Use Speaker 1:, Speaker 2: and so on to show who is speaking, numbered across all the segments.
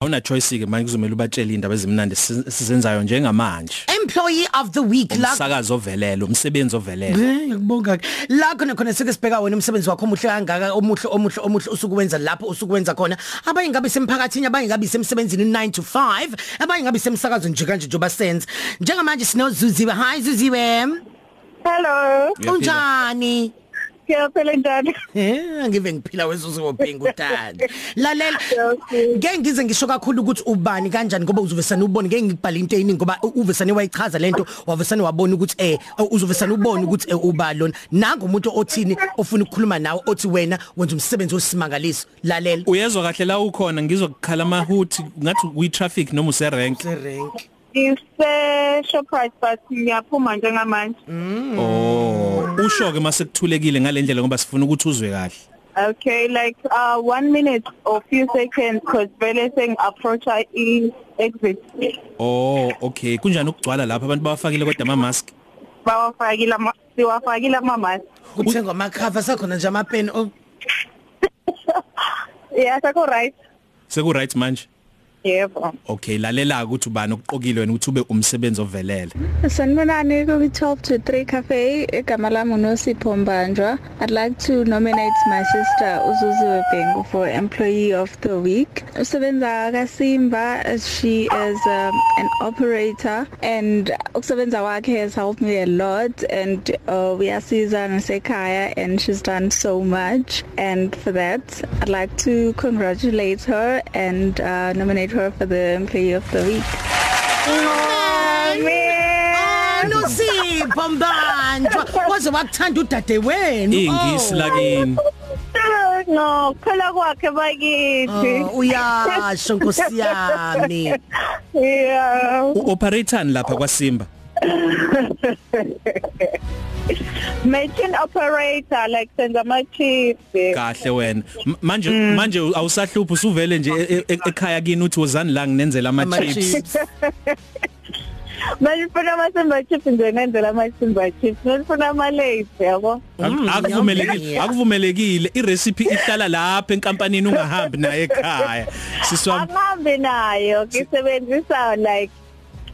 Speaker 1: awuna choice ke manje kuzomela ubatshele indaba ezimnandi si- sizenzayo njengamanje
Speaker 2: employee of the week la
Speaker 1: umsakazo ovelele umsebenzi ovelele
Speaker 2: Eh ngiyakubonga ke. La khona khona sike sibheka wena umsebenzi wakho omuhle kangaka omuhle omuhle omuhle usukwenza lapho usukwenza khona. Abanye ngabe semphakathini abanye ngabe semsebenzini 9 to 5 abanye ngabe semsakazo nje kanje njoba senze. Njengamanje sino Zuziwe. Hi Zuziwe.
Speaker 3: Hello.
Speaker 1: Uyaphila?
Speaker 2: Unjani?
Speaker 3: Ngiyaphila njani?
Speaker 2: Eh ngive ngiphila wezuziwe phinga utanda. Lalela.
Speaker 3: Okay.
Speaker 2: Ngeke ngize ngisho kakhulu ukuthi ubani kanjani ngoba uzovesana ubone ngeke ngibhale into eyiningi ngoba u- uvesane wayichaza lento wavesane wabona ukuthi eh uzovesana ubone ukuthi eh, uba lona nanga umuntu othini ofuna ukukhuluma nawe othi wena wenza umsebenzi osimangaliso lalela
Speaker 1: uyezwa kahle la ukhona ngizwa kukhala mahuthi ngathi uyi traffic noma use rank
Speaker 2: rank
Speaker 3: Ngise Shoprite but ngiyaphuma njengamanje.
Speaker 1: oh usho ke masekuthulekile ngalendlela ngoba sifuna ukuthi uzwe kahle
Speaker 3: Okay, like uh 1 minute or few seconds cuz vele sengiapproach i exit.
Speaker 1: oh okay kunjani ukugcwala lapha abantu bawafakile kodwa ama mask
Speaker 3: Bawafakile ama siwafakile ama mask.
Speaker 2: kuthengwa amakhava sakhona nje amapeni oh,
Speaker 3: Yeah, sakho right.
Speaker 1: seku right manje
Speaker 3: Yebo.
Speaker 1: okay lalela ukuthi ubani okuqokile wena ukuthi ube umsebenzi ovelele
Speaker 4: Sanibonani ku 12 to 3 cafe egama lami uNosipho Mbanjwa. I'd like to nominate my sister Uzuziwe Bengu for employee of the week. Usebenza kaSimba as she is um, an operator and ukusebenza kwakhe has helped me a lot and uh, we are season esekhaya and she's done so much and for that I'd like to congratulate her and uh, nominate her for the employee of the week.
Speaker 2: Eh, Oh, no sipho mbanjwa waze wakuthanda udade wenu
Speaker 1: ingisi lakini
Speaker 3: Eh, No, phela kwakhe
Speaker 2: Oh,
Speaker 3: bakithi.
Speaker 2: uyasho nkosi yami
Speaker 3: Yeah.
Speaker 1: uoperatorani lapha kwasimba
Speaker 3: Machine operator like senza ama chips.
Speaker 1: kahle wena M- manje manje awusahluphi usuvele nje e- e- ekhaya kini uthi wozani la nginenzela ama chips
Speaker 2: Ama-chips.
Speaker 3: Manje funa amasimba chips nje ngendlela amasimba chips. Manje funa ama lays yabo.
Speaker 2: Mm,
Speaker 1: Ak- akuvumelekile
Speaker 2: yummy.
Speaker 1: akuvumelekile irecipe ihlala lapha enkampanini ungahambi naye ekhaya siswa
Speaker 3: Angihambi nayo ngisebenzisa like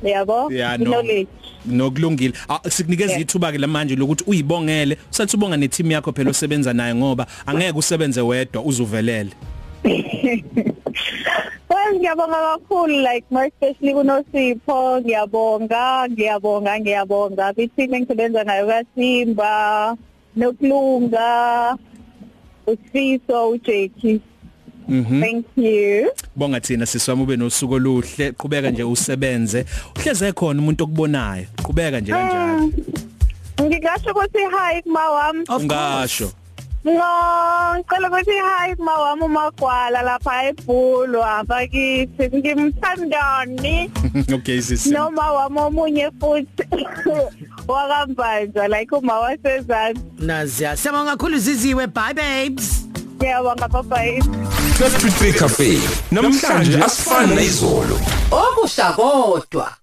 Speaker 3: yabo
Speaker 1: Yeah, no.
Speaker 3: knowledge.
Speaker 1: nokulungile Ah, sikunikeza
Speaker 3: Yeah.
Speaker 1: ithuba ke lamanje lokuthi uyibongele usathi ubonga neteam yakho phela osebenza naye ngoba angeke usebenze wedwa uzuvelele
Speaker 3: Well ngiyabonga kakhulu like more especially kunosipho ngiyabonga ngiyabonga ngiyabonga bithi ngisebenza nayo kaSimba nokulunga usiso uJeki.
Speaker 1: Mhm.
Speaker 3: Thank you.
Speaker 1: bonga thina siswami ube nosuku oluhle qhubeka nje usebenze uhleze khona umuntu okubonayo qhubeka nje kanjalo
Speaker 3: Ngigasho Ah, ukuthi hi mawami.
Speaker 2: Ah,
Speaker 1: Oh.
Speaker 2: Of
Speaker 1: ungasho
Speaker 3: No, ngicela ukuthi hi mawami umagwala lapha ebhulu abakithi ngimthandani
Speaker 1: okay sisi
Speaker 3: noma wami omunye futhi wakambanjwa like uma wasezantsi
Speaker 2: Naziya. Siyabonga kakhulu ziziwe. Bye babes.
Speaker 3: ngiyabonga babayi
Speaker 5: 12 to 3 cafe namhlanje asifani nezolo
Speaker 6: okusha kodwa